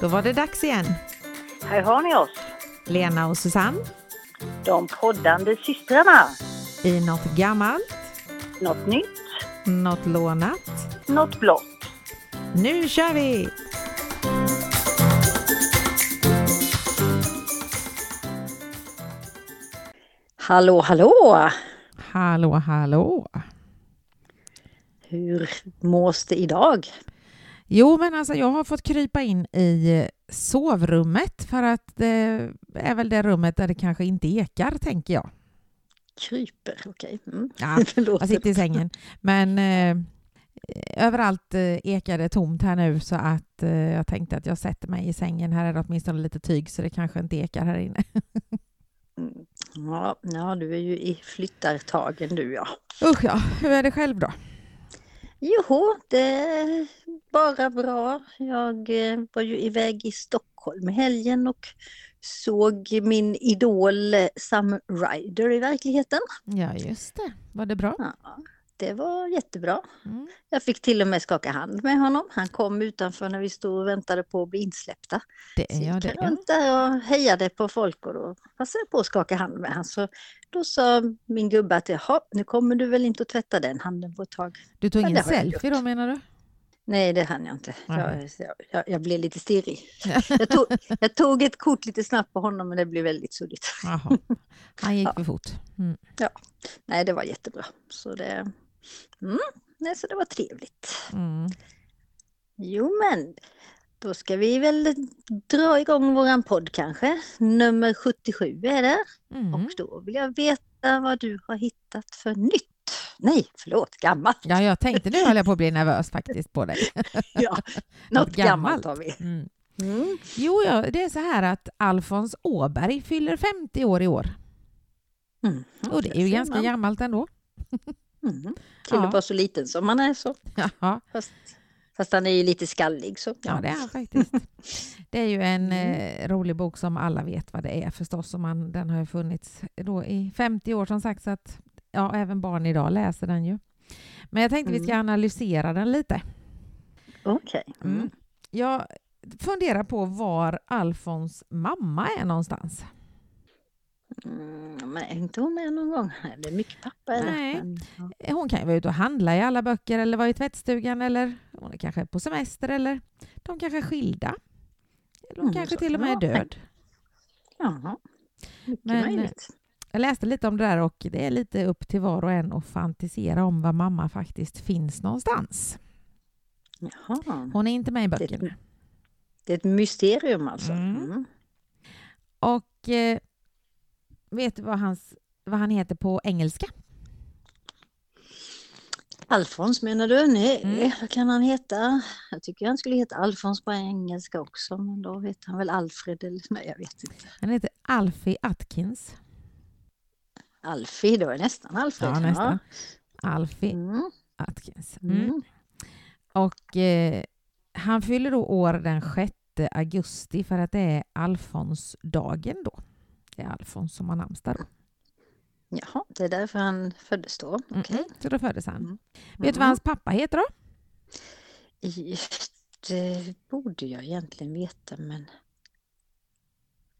Då var det dags igen. Här har ni oss, Lena och Susanne de poddande systrarna. i något gammalt, Något nytt, något lånat. något blått. Nu kör vi! Hallå, hallå! Hallå, hallå! Hur mås det idag? Jo, men alltså jag har fått krypa in i eh, sovrummet för att det är väl det rummet där det kanske inte ekar, tänker jag. Kryper, okej. Mm. Ja, Det låter- jag sitter i sängen. Men eh, överallt eh, ekar det tomt här nu så att eh, jag tänkte att jag sätter mig i sängen. Här är det åtminstone lite tyg så det kanske inte ekar här inne. Ja, ja, du är ju i flyttartagen du ja. Usch ja, hur är det själv då? Joho, det är bara bra. Jag eh, var ju iväg i Stockholm i helgen och såg min idol eh, Sam Ryder i verkligheten. Ja, just det. Var det bra? Ja, det var jättebra. Mm. Jag fick till och med skaka hand med honom. Han kom utanför när vi stod och väntade på att bli insläppta. Det Så är jag gick det. han runt där och hejade på folk och då passade jag på att skaka hand med honom. Så då sa min gubbe att jaha, nu kommer du väl inte att tvätta den handen på ett tag. Du tog Ja, ingen det har jag selfie då gjort. menar du? Nej, det hann jag inte. Nej. Jag, jag, jag, jag blev lite stirrig. Jag tog, jag tog ett kort lite snabbt på honom men det blev väldigt suddigt. Jaha. Han gick Ja. för fort. Mm. Nej, det var jättebra. Så det, mm, nej, så det var trevligt. Mm. Jo men, då ska vi väl dra igång våran podd kanske. Nummer 77 är det. Mm. Och då vill jag veta vad du har hittat för nytt. Nej, förlåt, gammalt. Ja, jag tänkte nu höll jag på att bli nervös faktiskt på dig. Ja, Något något gammalt har vi. Mm. Mm. Jo, ja, det är så här att Alfons Åberg fyller 50 år i år. Mm. Och det är ju ser ganska man. gammalt ändå. Mm. Kul Ja. att vara så liten som man är så. Jaha. Fast, fast han är ju lite skallig så. Ja, det är han faktiskt. Det är ju en Mm. eh, rolig bok som alla vet vad det är förstås. Och man, den har ju funnits då i 50 år som sagt, så att ja, även barn idag läser den ju. Men jag tänkte vi ska Mm. analysera den lite. Okej. Mm. Mm. Jag funderar på var Alfons mamma är någonstans. Mm. Men är inte hon med någon gång? Nej, Det är mycket pappa är det. Nej. Men, ja. Eh, Hon kan ju vara ute och handla i alla böcker eller vara i tvättstugan eller hon är kanske på semester eller de kanske är skilda. Eller hon Mm, kanske så till och med är kan det vara. död. Jaha. Mycket Men, eh, möjligt. Jag läste lite om det där och det är lite upp till var och en att fantisera om var mamma faktiskt finns någonstans. Jaha. Hon är inte med i Typ böckerna. Det är ett mysterium alltså. Mm. Mm. Och eh, vet du vad, hans, vad han heter på engelska? Alfons menar du? Nej, Mm. vad kan han heta? Jag tycker han skulle heta Alfons på engelska också, men då heter han väl Alfred eller nej, jag vet inte. Han heter Alfie Atkins. Alfie, då är nästan Alfred. Ja, nästan. Alfie Mm. Atkins. Mm. Mm. Och eh, han fyller då år den 6 augusti för att det är Alfonsdagen då. Det är Alfons som har namnsdag då. Jaha, det är därför han föddes då. Mm, Okej. mm, Så då föddes han. Mm. Vet du vad hans pappa heter då? I- Det eh, borde jag egentligen veta, men...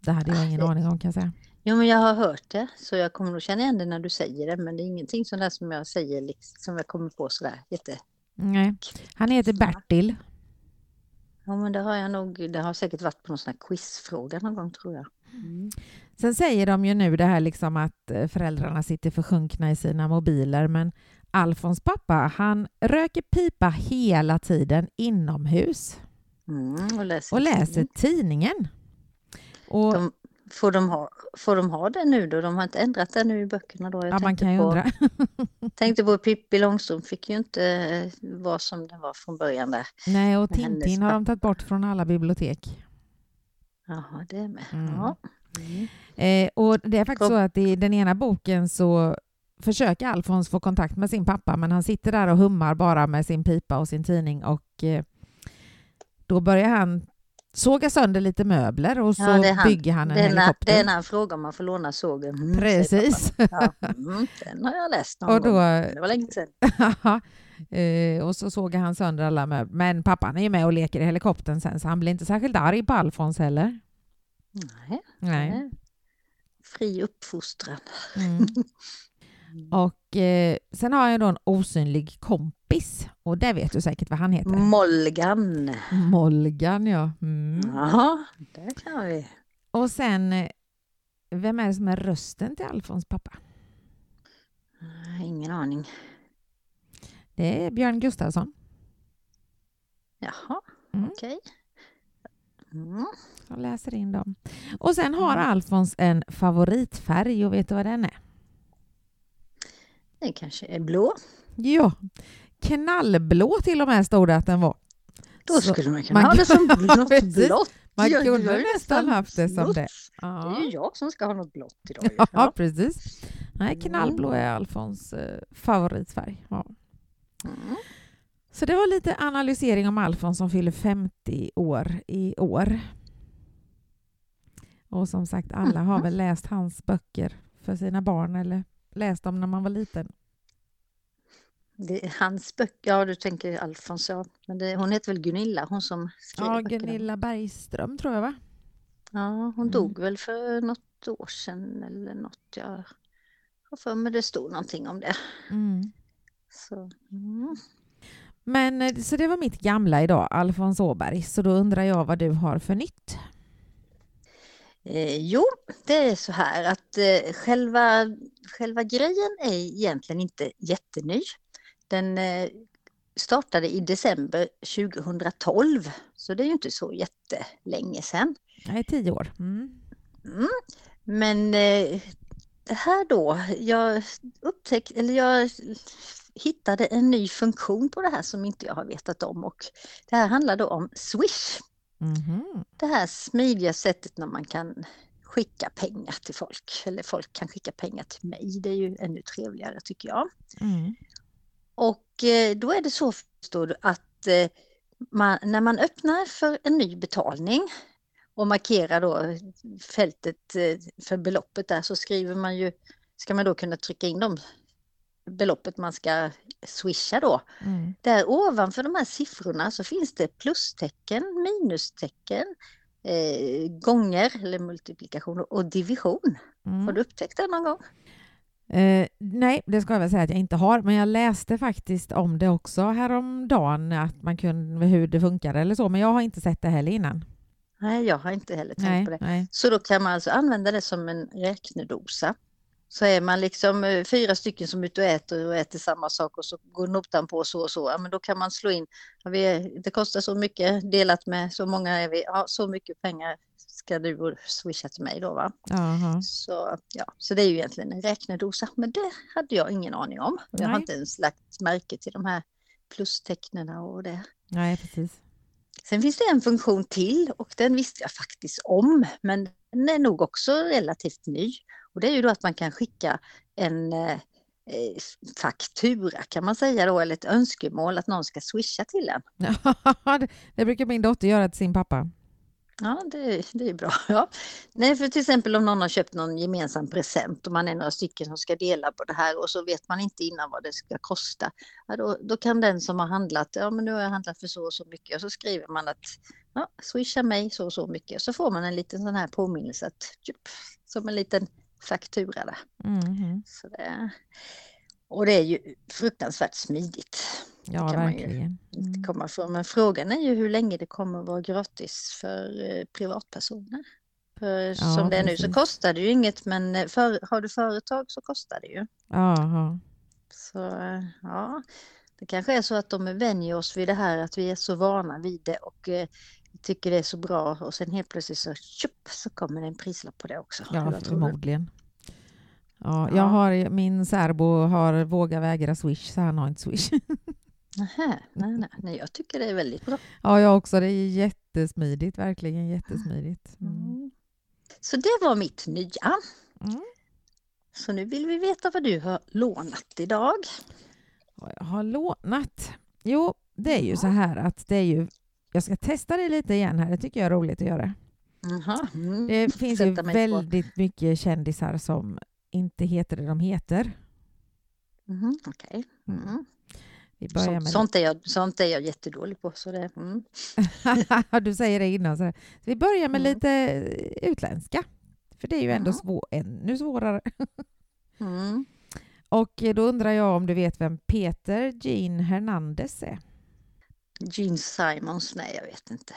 Det hade jag ingen Ah, aning om kan jag säga. Jo, men jag har hört det, så jag kommer nog känna igen det när du säger det, men det är ingenting sånt där som jag säger, liksom, som jag kommer på sådär jätte... Nej. Han heter Bertil. Ja, men det har jag nog, det har säkert varit på någon sån här quizfråga någon gång tror jag. Mm. Sen säger de ju nu det här liksom att eh, föräldrarna sitter försjunkna i sina mobiler men Alfons pappa han röker pipa hela tiden inomhus Mm, och läser, och läser tidning. tidningen. Och, De, får, de ha, får de ha det nu då? De har inte ändrat det nu i böckerna då? Jag ja, man tänkte kan ju på, undra. tänkte på Pippi Långstrump fick ju inte eh, vara som den var från början där. Nej, och med hennes Tintin har de tagit bort från alla bibliotek. Jaha, det är med. Mm. Ja. Mm. Eh, och det är faktiskt Kom. så att i den ena boken så försöker Alfons få kontakt med sin pappa men han sitter där och hummar bara med sin pipa och sin tidning och eh, då börjar han såga sönder lite möbler och så Ja, det är han. bygger han en Det är när- helikopter. det är när han frågar om man får låna sågen. Mm, säger Precis. pappa. Ja, mm, den har jag läst någon Och då, gång. Det var länge sedan. Ja, Eh, och så såg han sönder alla möbler. Men pappan är ju med och leker i helikoptern sen, så han blir inte särskilt arg på Alfons heller. Nej. Nej. nej. Fri uppfostran. Mm. Och eh, sen har jag då en osynlig kompis. Och det vet du säkert vad han heter. Molgan. Molgan, ja. Mm. Jaha, där kan vi. Och sen, eh, vem är det som är rösten till Alfons pappa? Nej, Mm, Ingen aning. Det är Björn Gustafsson. Jaha, Mm. okej. Mm. Jag läser in dem. Och sen har Alfons en favoritfärg och vet du vad den är? Det kanske är blå. Ja, knallblå till och med stod det att den var. Då Så skulle man kunna man ha det som kunde- något precis. blått. Man Jag- jag kunde har ju nästan haft det som blått. det. Det är Ja, ju jag som ska ha något blått idag. ju. ja Mm. Ja. precis. Nej, knallblå är Alfons eh, favoritfärg. Ja. Mm. Så det var lite analysering om Alfons som fyller 50 år i år. Och som sagt, alla har väl läst hans böcker för sina barn eller läst dem när man var liten. Det är hans böcker, ja du tänker Alfons ja. Men det, hon heter väl Gunilla, hon som skrev Ja, böckerna. Gunilla Bergström tror jag va? Ja, hon Mm. dog väl för något år sedan eller något. Jag har för mig det stod någonting om det. Mm. Så, mm. Men eh, så det var mitt gamla idag, Alfons Åberg. Så då undrar jag vad du har för nytt? Eh, jo, det är så här att eh, själva, själva grejen är egentligen inte jätteny. Den eh, startade i december 2012, så det är ju inte så jättelänge sedan. Jag är tio år. Mm. Mm. Men eh, det här då, jag upptäckte, eller jag hittade en ny funktion på det här som inte jag har vetat om och det här handlar då om Swish. Mhm. Det här smidiga sättet när man kan skicka pengar till folk, eller folk kan skicka pengar till mig, det är ju ännu trevligare tycker jag. Mm. Och eh, då är det så förstår du att eh, man, när man öppnar för en ny betalning och markerar då fältet eh, för beloppet där så skriver man ju, ska man då kunna trycka in de beloppet man ska swisha då. Mm. Där ovanför de här siffrorna så finns det plustecken, minustecken, eh, gånger eller multiplikation och division. Har Mm. du upptäckt det någon gång? Eh, nej, det ska jag väl säga att jag inte har, men jag läste faktiskt om det också häromdagen, att man kunde, hur det funkar eller så, men jag har inte sett det heller innan. Nej, jag har inte heller tänkt Nej, på det. nej. Så då kan man alltså använda det som en räknedosa. Så är man liksom eh, fyra stycken som är ute och äter och äter samma sak och så går notan på så och så, ja, men då kan man slå in, ja, vi är, det kostar så mycket delat med så många är vi, ja, så mycket pengar ska du och swisha till mig då va. Jaha. Så, ja, så det är ju egentligen en räknedosa, men det hade jag ingen aning om. Jag har Nej. inte ens lagt märke till de här plustecknen och det. Nej, precis. Sen finns det en funktion till och den visste jag faktiskt om, men den är nog också relativt ny. Och det är ju då att man kan skicka en eh, eh, faktura kan man säga då, eller ett önskemål att någon ska swisha till en. det, det brukar min dotter göra till sin pappa. Ja, det, det är bra. Ja. Nej, för till exempel om någon har köpt någon gemensam present och man är några stycken som ska dela på det här och så vet man inte innan vad det ska kosta. Ja, då, då kan den som har handlat, ja men nu har jag handlat för så och så mycket och så skriver man att ja, swisha mig så och så mycket och så får man en liten sån här påminnelse att tjup, som en liten faktura där. Mhm. Så det, och det är ju fruktansvärt smidigt. Ja, kan man ju verkligen. Inte Mm. komma ifrån. Men frågan är ju hur länge det kommer att vara gratis för eh, privatpersoner. För som det är nu så precis. kostar det ju inget men eh, för, har du företag så kostar det ju. Jaha. Så eh, ja, det kanske är så att de vänjer oss vid det här att vi är så vana vid det och eh, tycker det är så bra och sen helt plötsligt så, tjup, så kommer det en prislapp på det också. Eller Ja, vad tror du? förmodligen. Ja, Ja. jag har, min särbo har vågat vägra Swish, så han har inte Swish. Nähä, nej, nej, nej, jag tycker det är väldigt bra. ja, jag också. Det är jättesmidigt, verkligen jättesmidigt. Mm. Så det var mitt nya. Mm. Så nu vill vi veta vad du har lånat idag. Vad jag har lånat? Jo, det är ju så här att det är ju... Jag ska testa det lite igen här. Det tycker jag är roligt att göra. Jaha. Mm. Det finns ju Sätta mig på. väldigt mycket kändisar som inte heter det de heter. Mhm, Okej. Mm. Vi börjar med sånt, sånt, är jag, sånt är jag jättedålig på. Så det, mm. det. du säger det innan. Så här. Så vi börjar med Mm. lite eh, utländska, för det är ju ändå Ja. svår, ännu svårare. Mm. Och eh, då undrar jag om du vet vem Peter Jean Hernandez är? Gene Simons, nej jag vet inte.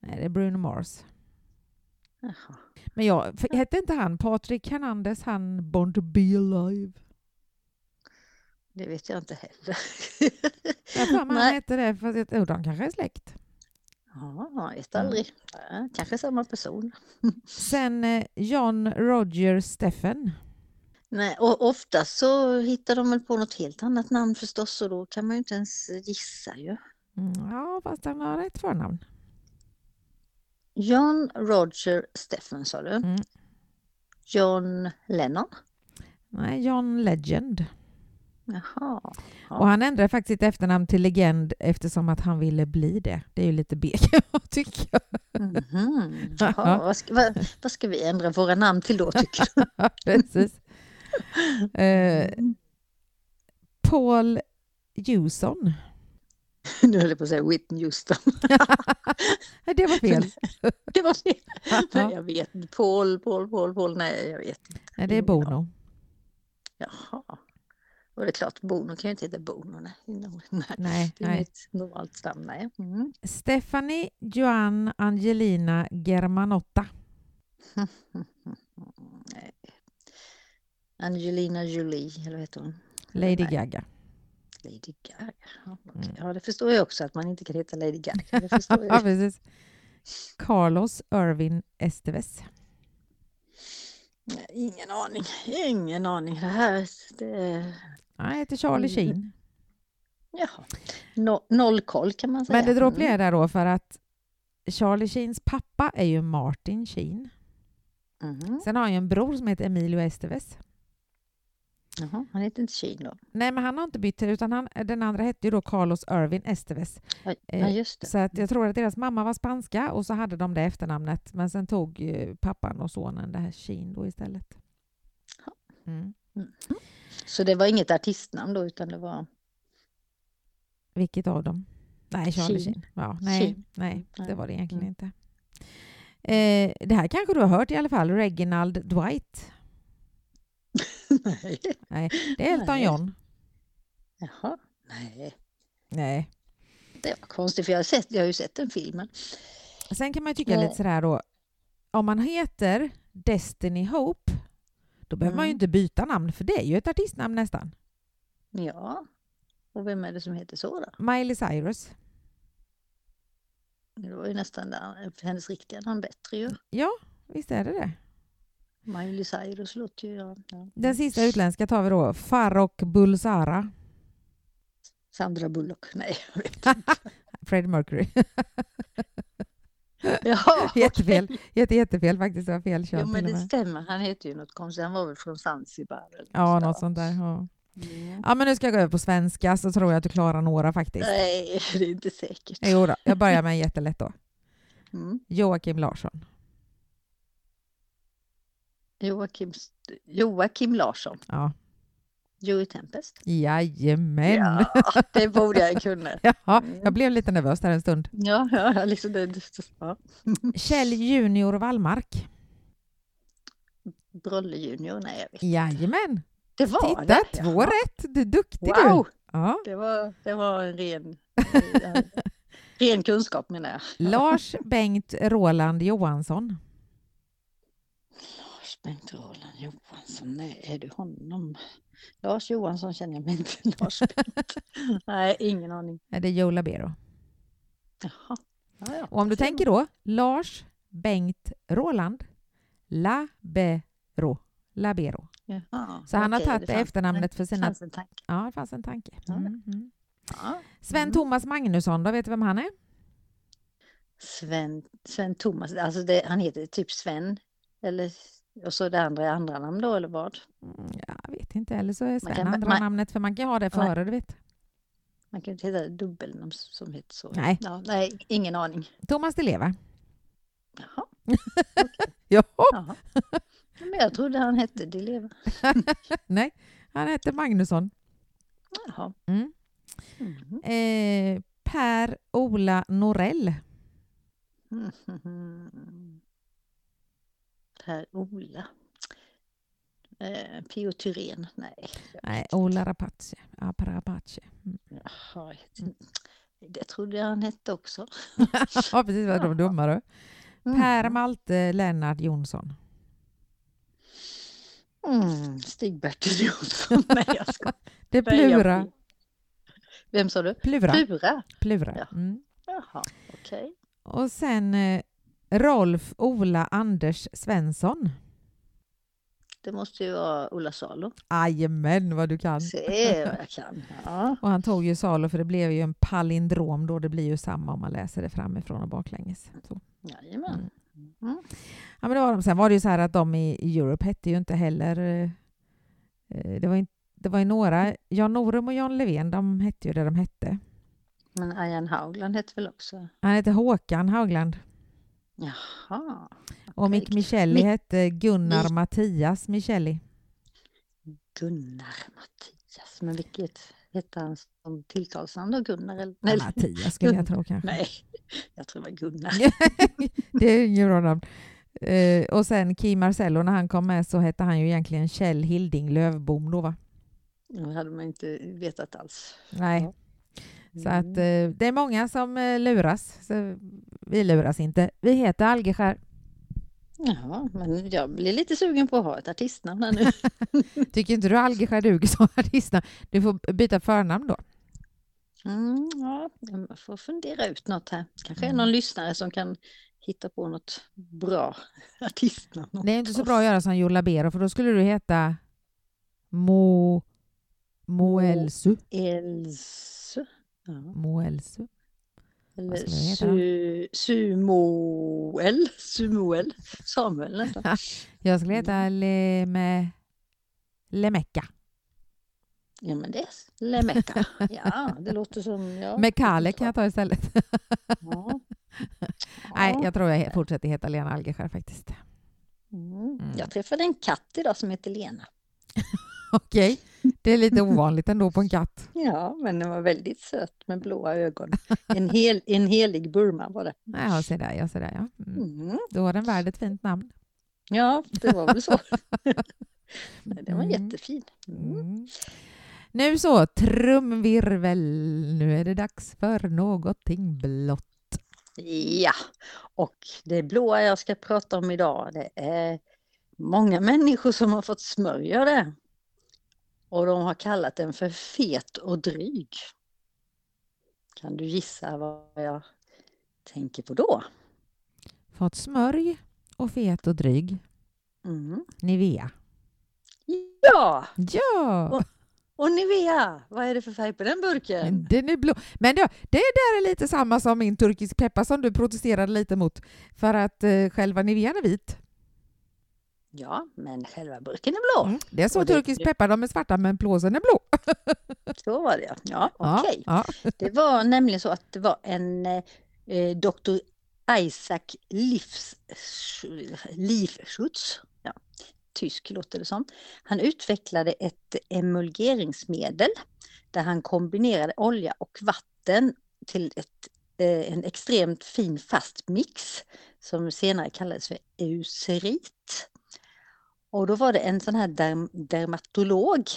Nej, det är Bruno Mars. Jaha. Men jag, Mm. för, hette inte han Patrik Hernandez, han Born to be alive? Det vet jag inte heller. Jag tror han Nej. hette det, för jag tror de kanske är släkt. Ja, jag vet Mm. aldrig. Ja, kanske samma person. Sen eh, John Roger Steffen. Nej, och oftast så hittar de väl på något helt annat namn förstås och då kan man ju inte ens gissa ju. Mm, ja, fast han har rätt förnamn. John Roger Steffen sa du. Mm. John Lennon. Nej, John Legend. Jaha. Ja. Och han ändrade faktiskt sitt efternamn till Legend eftersom att han ville bli det. Det är ju lite B kan jag tycka. Mhm. Jaha. Vad, ska, vad, vad ska vi ändra våra namn till då tycker du? Precis. Eh, Paul Juson. Nu höll jag på att säga Whitney Houston. Nej, det var fel. Det var fel. Nej, jag vet inte. Paul, Paul, Paul, Paul. Nej, jag vet inte. Nej, det är Bono. Jaha. Och det är klart, Bono kan ju inte heta Bono. Nej, nej. Nej, det är nej. inget normalt namn. Nej. Mm. Stephanie Joan Angelina Germanotta. Nej. Angelina Jolie, eller vad heter hon? Lady Nej. Gaga. Lady Gaga. Ja, okej. Mm. Ja, det förstår jag också att man inte kan heta Lady Gaga. Det förstår Ja, jag. precis. Carlos Irvin Esteves. Nej, Ingen aning. Ingen aning. Det här... Det... Han heter Charlie Mm. Sheen. Jaha. No, noll koll kan man säga. Men det dråpliga Mm. är där då för att Charlie Sheens pappa är ju Martin Sheen. Mhm. Sen har han ju en bror som heter Emilio Esteves. Jaha, han heter inte Sheen då. Nej, men han har inte bytt utan han, den andra hette ju då Carlos Irvin Esteves. Ja, Eh, ja, just det. Så att jag tror att deras mamma var spanska och så hade de det efternamnet. Men sen tog eh, pappan och sonen det här Sheen då istället. Mm. Så det var inget artistnamn då utan det var... Vilket av dem? Nej, Charlie Sheen. Sheen. Ja, nej, Sheen. nej, det Nej. var det egentligen Mm. inte. Eh, det här kanske du har hört i alla fall, Reginald Dwight. Nej. Det är Elton Nej. John. Jaha. Nej, Nej. det var konstigt för jag har, sett, jag har ju sett den filmen. Sen kan man ju tycka Nej. lite sådär då, om man heter Destiny Hope, då behöver man ju Mm. inte byta namn, för det är ju ett artistnamn nästan. Ja. Och vem är det som heter så då? Miley Cyrus. Det var ju nästan där, hennes riktiga namn bättre ju. Visst är det det? Miley Cyrus låter ju... Ja, ja. Den sista utländska tar vi då, Farrokh Bulsara, Sandra Bullock, nej. Freddie Mercury. Jaha, Jättefel. Jätte, jättefel faktiskt, det var fel kön Jo, till men och det med. stämmer. Han heter ju något konstigt. Han var väl från Zanzibar? eller Ja, där, något va? sånt där. Ja. Mm. ja, men nu ska jag gå över på svenska så tror jag att du klarar några faktiskt. Nej, det är inte säkert. Jo då, jag börjar med en jättelätt då. Mm. Joakim Larsson. Joakim, Joakim Larsson, Ja. Joey Tempest. Jajamän! Ja, det borde jag kunna. Jaha, Mm. jag blev lite nervös där en stund. Ja, ja, liksom det. Ja. Kjell Junior Wallmark. Brolle Junior, nej jag vet. Jajamän! Det var Titta, det. två rätt! Du är duktig du! Wow, Ja. det var, det var en ren, ren kunskap menar jag. Lars Bengt Roland Johansson. Lars Bengt Roland Johansson, nej, är du honom? Lars Johansson känner jag mig inte. Lars Bengt. nej, ingen aning. Nej, Det är Joe Labero. Jaha. Ja, ja, Och om du där ser tänker då, Lars Bengt Roland Labero. Labero. man. Jaha, Så han har okej, tagit fanns- efternamnet för Det sina... fanns en tanke. Ja, det fanns en tanke. Ja. Mm, mm. Ja. Sven Mm. Thomas Magnusson då, vet du vem han är? Sven, Sven Thomas, alltså det, han heter typ Sven. Eller, och så det andra är andra namn då eller vad? Mm, Jag vet inte, eller så är Sven kan- andra man- namnet, för man kan ha det Nej. före, du vet. Man kan ju inte heta dubbelnamn som heter så. Nej. Ja, nej, ingen aning. Thomas Di Leva. Jaha, Jaha! jaha. Men jag trodde han hette Di Leva. Nej, han heter Magnusson. Jaha. Mm. Mhm. Eh, Per-Ola Norell. Mhm. Per-Ola. Eh, Pio Thyrén, nej. Nej, Ola Rapace. Ja, Per Rapace. Jaha, jag vet inte. det trodde jag han hette också. Ja, precis vad de dumma du. Mm. Per Malte Lennart Jonsson. Mm, Stig-Bertil Jonsson. Nej, jag ska Det är böja Plura. mig. Vem sa du? Plura. Plura? Plura. Ja. Mm. Jaha, okej. Och sen eh, Rolf Ola Anders Svensson. Det måste ju vara Ola Salo. Jajamän vad du kan! Se vad jag kan. Ja. Och han tog ju Salo för det blev ju en palindrom då, det blir ju samma om man läser det framifrån och baklänges. Så. Jajamän. Mm. Mm. Ja, men det var de. Sen var det ju så här att de i i Europe hette ju inte heller... eh, eh, Det var, in, det var ju några, Jan Norum och Jan Levén, de hette ju det de hette. Men Ayan Haugland hette väl också? Han hette Håkan Haugland Jaha. och Mick Okej. Michelli Mick- hette Gunnar Mick- Mattias Michelli. Gunnar Mattias. Men vilket hette han som tilltalsnamn då? Gunnar? Eller? Nej, Mattias skulle jag tro kanske. nej, jag tror det var Gunnar. Det är inget bra namn. Eh, och sen Kim Marcello, när han kom med så hette han ju egentligen Kjell Hilding Lövbom då va? Det hade man inte vetat alls. Mm. Nej. Ja. Så att eh, det är många som eh, luras. Så vi luras inte. Vi heter Algeskär. Ja, men jag blir lite sugen på att ha ett artistnamn här nu. Tycker inte du Algeskär duger som artistnamn? Du får byta förnamn då. Mm, ja, jag får fundera ut något här. Kanske Mm. är någon lyssnare som kan hitta på något bra artistnamn. Det är inte åt så oss. bra att göra som Joe Labero för då skulle du heta Mo... Moelsu. Elsu. Ja. Moelsu. Eller ska vi heta su, Sumoel. Sumoel. Samuel nästan. Jag skulle heta Mm. Leme... Lemecka. Ja men det är Lemeka. Ja, det låter som... Ja, Mekale kan jag ta istället. Ja. Nej, Ja. jag tror jag he- fortsätter heta Lena Algeskär faktiskt. Mm. Mm. Jag träffade en katt idag som heter Lena. Okej, det är lite ovanligt ändå på en katt. Ja, men den var väldigt söt med blåa ögon. En, hel, en helig Burma var det. Nej, jag ser där, jag ser där ja. Mm. Mm. Då var den värd ett fint namn. Ja, det var väl så. Nej, den var Mm. jättefin. Mm. Mm. Nu så, trumvirvel. Nu är det dags för någonting blått. Ja, och det blåa jag ska prata om idag, det är många människor som har fått smörja det. Och de har kallat den för fet och dryg. Kan du gissa vad jag tänker på då? Fått smörj och fet och dryg. Mm. Nivea. Ja, Ja, och Nivea, vad är det för färg på den burken? den är blå. Men ja, det där är lite samma som min turkisk peppar som du protesterade lite mot. För att eh, själva Nivean är vit. Ja, men själva burken är blå. Mm. Det är så Och det- turkisk peppar, de är svarta men plåsen är blå. Så var det ja. Ja, Ja, okej. ja. Det var nämligen så att det var en eh, eh, Dr. Isaac Livs, Liefschutz, ja, tysk låter det som. Han utvecklade ett emulgeringsmedel där han kombinerade olja och vatten till ett, eh, en extremt fin fast mix som senare kallades för eucerit. Och då var det en sån här derm- dermatolog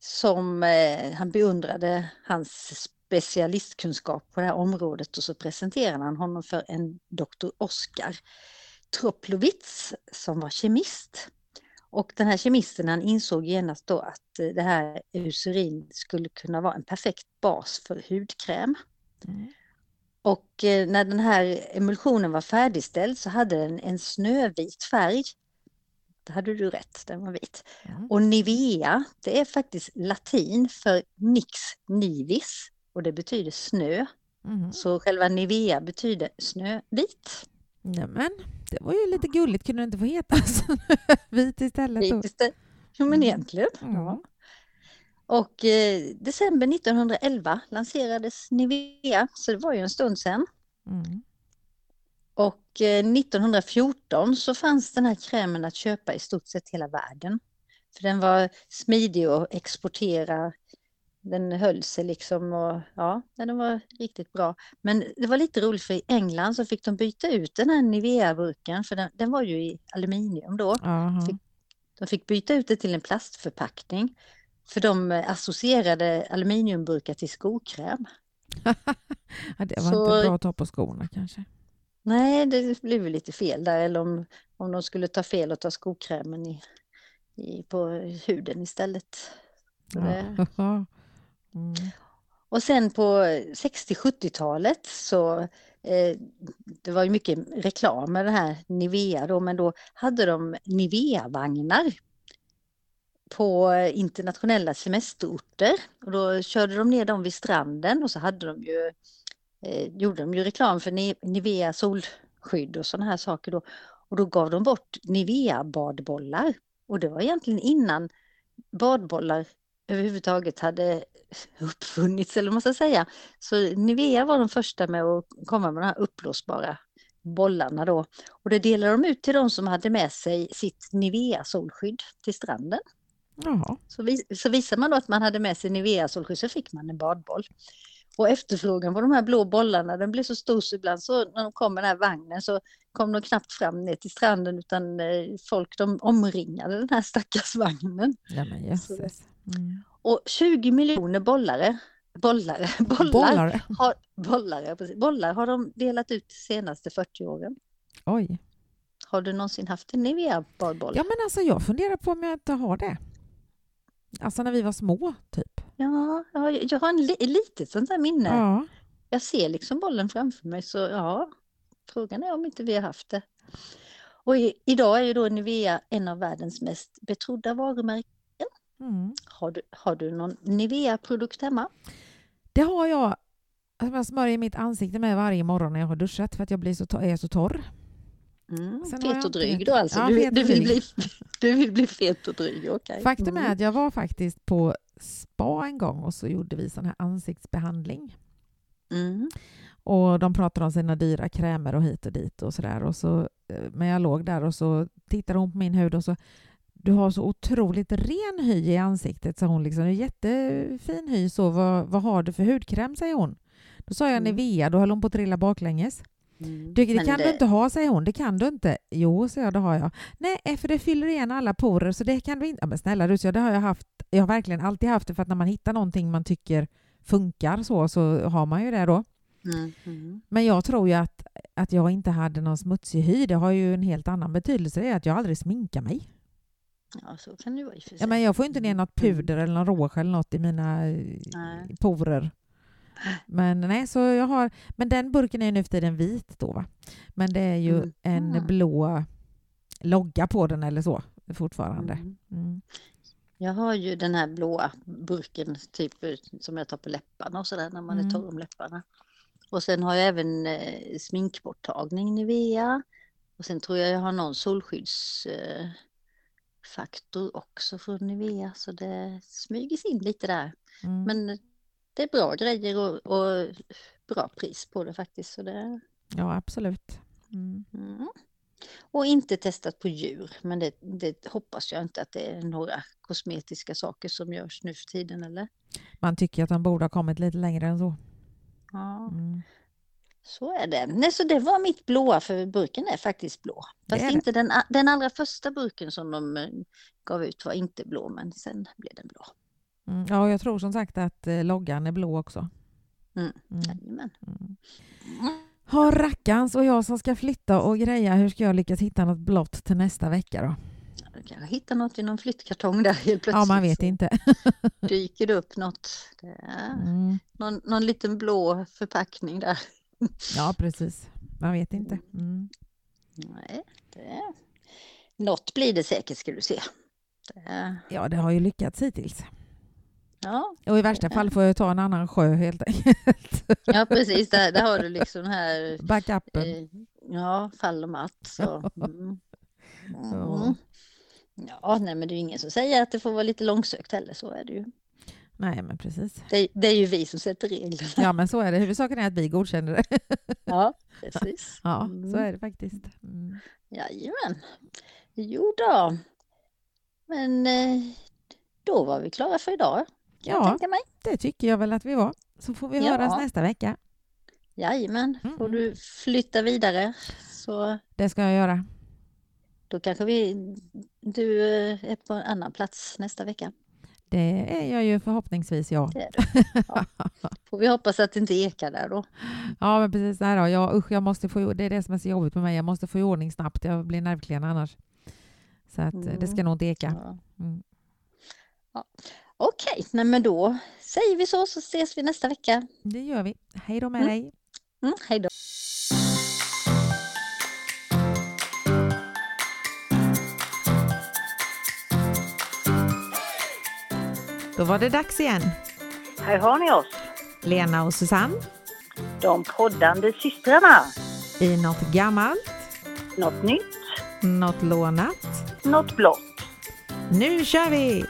som eh, han beundrade hans specialistkunskap på det här området och så presenterade han honom för en doktor Oskar Troplowitz som var kemist. Och den här kemisten han insåg genast då att eh, det här eucerin skulle kunna vara en perfekt bas för hudkräm. Mm. Och eh, när den här emulsionen var färdigställd så hade den en snövit färg. Det hade du rätt, den var vit. Mm. Och Nivea, det är faktiskt latin för nix nivis och det betyder snö. Mhm. Så själva Nivea betyder snövit. Nämen, det var ju lite gulligt. Kunde det inte få heta vit istället? Då? Vit istället. Jo men Mm. egentligen. Mm. Ja. Och eh, december 1911 lanserades Nivea, så det var ju en stund sedan. Mm. Och eh, 1914 så fanns den här krämen att köpa i stort sett hela världen. För den var smidig att exportera den höll sig liksom och ja, den var riktigt bra. Men det var lite roligt för i England så fick de byta ut den här Nivea-burken för den, den var ju i aluminium då. Aha. Fick- De fick byta ut det till en plastförpackning. För de eh, associerade aluminiumburkar till skokräm. Ja, det var så- inte bra att ta på skorna kanske. Nej, det blev ju lite fel där. Eller om, om de skulle ta fel och ta skokrämen i, i, på huden istället. Så det- Ja. Mm. Och sen på 60-70-talet så eh, det var ju mycket reklam med det här Nivea då, men då hade de Nivea-vagnar på eh, internationella semesterorter. Och då körde de ner dem vid stranden och så hade de ju, eh, gjorde de ju reklam för Ni- Nivea solskydd och sådana här saker då. Och då gav de bort Nivea-badbollar. Och det var egentligen innan badbollar överhuvudtaget hade uppfunnits, eller vad man ska säga. Så Nivea var de första med att komma med de här uppblåsbara bollarna då. Och det delade de ut till de som hade med sig sitt Nivea solskydd till stranden. Jaha. Så, vis- så visade man då att man hade med sig Nivea solskydd så fick man en badboll. Och efterfrågan på de här blå bollarna den blev så stor så ibland så när de kom med den här vagnen så kom de knappt fram ner till stranden utan eh, folk de omringade den här stackars vagnen. Ja, men jösses. Mm. Och 20 miljoner bollare, bollare, bollar, bollar. Bollar. Har, bollare, precis. bollar har de delat ut de senaste 40 åren. Oj. Har du någonsin haft en Nivea-badboll? Ja, men alltså jag funderar på om jag inte har det. Alltså när vi var små, typ. Ja, ja, jag har en li, litet sånt där minne. Ja. Jag ser liksom bollen framför mig så ja, frågan är om inte vi har haft det. Och i, idag är ju då Nivea en av världens mest betrodda varumärken. Mm. Har du, har du någon Nivea-produkt hemma? Det har jag. Alltså, jag smörjer mitt ansikte med varje morgon när jag har duschat för att jag blir så, to- är så torr. Mm, Sen har jag fet och inte dryg det. då alltså? Ja, du, fet du, och vill bli, dryg. du vill bli fet och dryg, okej. Faktum Mm. är att jag var faktiskt på spa en gång och så gjorde vi sån här ansiktsbehandling. Mm. Och de pratade om sina dyra krämer och hit och dit och sådär. Och så, eh, men jag låg där och så tittade hon på min hud och så du har så otroligt ren hy i ansiktet, sa hon. Liksom. "Du är Jättefin hy, så vad, vad har du för hudkräm, säger hon. Då sa jag Mm. Nivea, då höll hon på att trilla baklänges. Du, det Men kan du inte ha, säger hon. Det kan du inte. Jo, säger jag, det har jag. Nej, eh, för det fyller igen alla porer, så det kan du inte. Ja, men snälla du, så det har jag haft. Jag har verkligen alltid haft det, för att när man hittar någonting man tycker funkar så, så har man ju det då. Mm. Mm. Men jag tror ju att, att jag inte hade någon smutsig hy. Det har ju en helt annan betydelse. Det är att jag aldrig sminkar mig. Ja, så kan det ju vara i och för Ja, sig. men jag får inte ner något puder eller någon rouge eller något i mina eh, Mm. Nej. porer. Men nej, så jag har... Men den burken är ju nu för tiden vit då, va? Men det är ju Mhm. en blå logga på den eller så fortfarande. Mm. Mm. Jag har ju den här blåa burken typ som jag tar på läpparna och sådär när man Mm. är torr om läpparna. Och sen har jag även eh, sminkborttagning Nivea. Och sen tror jag jag har någon solskyddsfaktor eh, faktor också från Nivea så det smyger sig in lite där. Mm. Men det är bra grejer och, och bra pris på det faktiskt. Så det, Ja, absolut. Mm. Mm. Och inte testat på djur, men det, det hoppas jag inte att det är några kosmetiska saker som görs nu för tiden, eller? Man tycker ju att de borde ha kommit lite längre än så. Ja, Mm. så är det. Nej, så det var mitt blåa, för burken är faktiskt blå. Det Fast är det. inte Den, a- den allra första burken som de eh, gav ut var inte blå, men sen blev den blå. Mm. Ja, jag tror som sagt att eh, loggan är blå också. Mm. Mm. Jajamän. Mm. Mm. Har rackarns och jag som ska flytta och greja, hur ska jag lyckas hitta något blått till nästa vecka då? Du kanske hittar något i någon flyttkartong där helt plötsligt. Ja, man vet så inte. Dyker det upp något. Det är Mm. någon, någon liten blå förpackning där. Ja, precis. Man vet inte. Mm. Nej, det... Något blir det säkert ska du se. Det... Ja, det har ju lyckats hittills. Ja, Och i värsta fall får jag ju ta en annan sjö helt enkelt. ja, precis. Där, där har du liksom den här... Backuppen. Eh, ja, fall och matt. Så. Mm. Ja. Mm. Ja, nej, men det är ju ingen som säger att det får vara lite långsökt heller. Så är det ju. Nej, men precis. Det, det är ju vi som sätter reglerna. Ja, men så är det. Huvudsaken är att vi godkänner det. Ja, precis. Ja, så Mm. är det faktiskt. Mm. Jajamän. Jo då. Men eh, då var vi klara för idag. kan jag Ja. tänka mig. Det tycker jag väl att vi var. Så får vi Ja. höras nästa vecka. Jajamän, Mm. får du flytta vidare så Det ska jag göra. då kanske vi, du eh, är på en annan plats nästa vecka. Det är jag ju förhoppningsvis, ja. Får vi hoppas att det inte ekar där då. Ja, men precis så här då. Ja, usch, jag måste få, det är det som är så jobbigt med mig. Jag måste få i ordning snabbt. Jag blir nervklen annars. Så att, eh, det ska nog inte eka. Ja. Mm. Ja. Okej, nej men då säger vi så så ses vi nästa vecka. Det gör vi. Hej då med Mm. dig. Mm, hej då. Då var det dags igen. Här har ni oss, Lena och Susanne de poddande systrarna. i något gammalt, Något nytt, något lånat. något blått. Nu kör vi!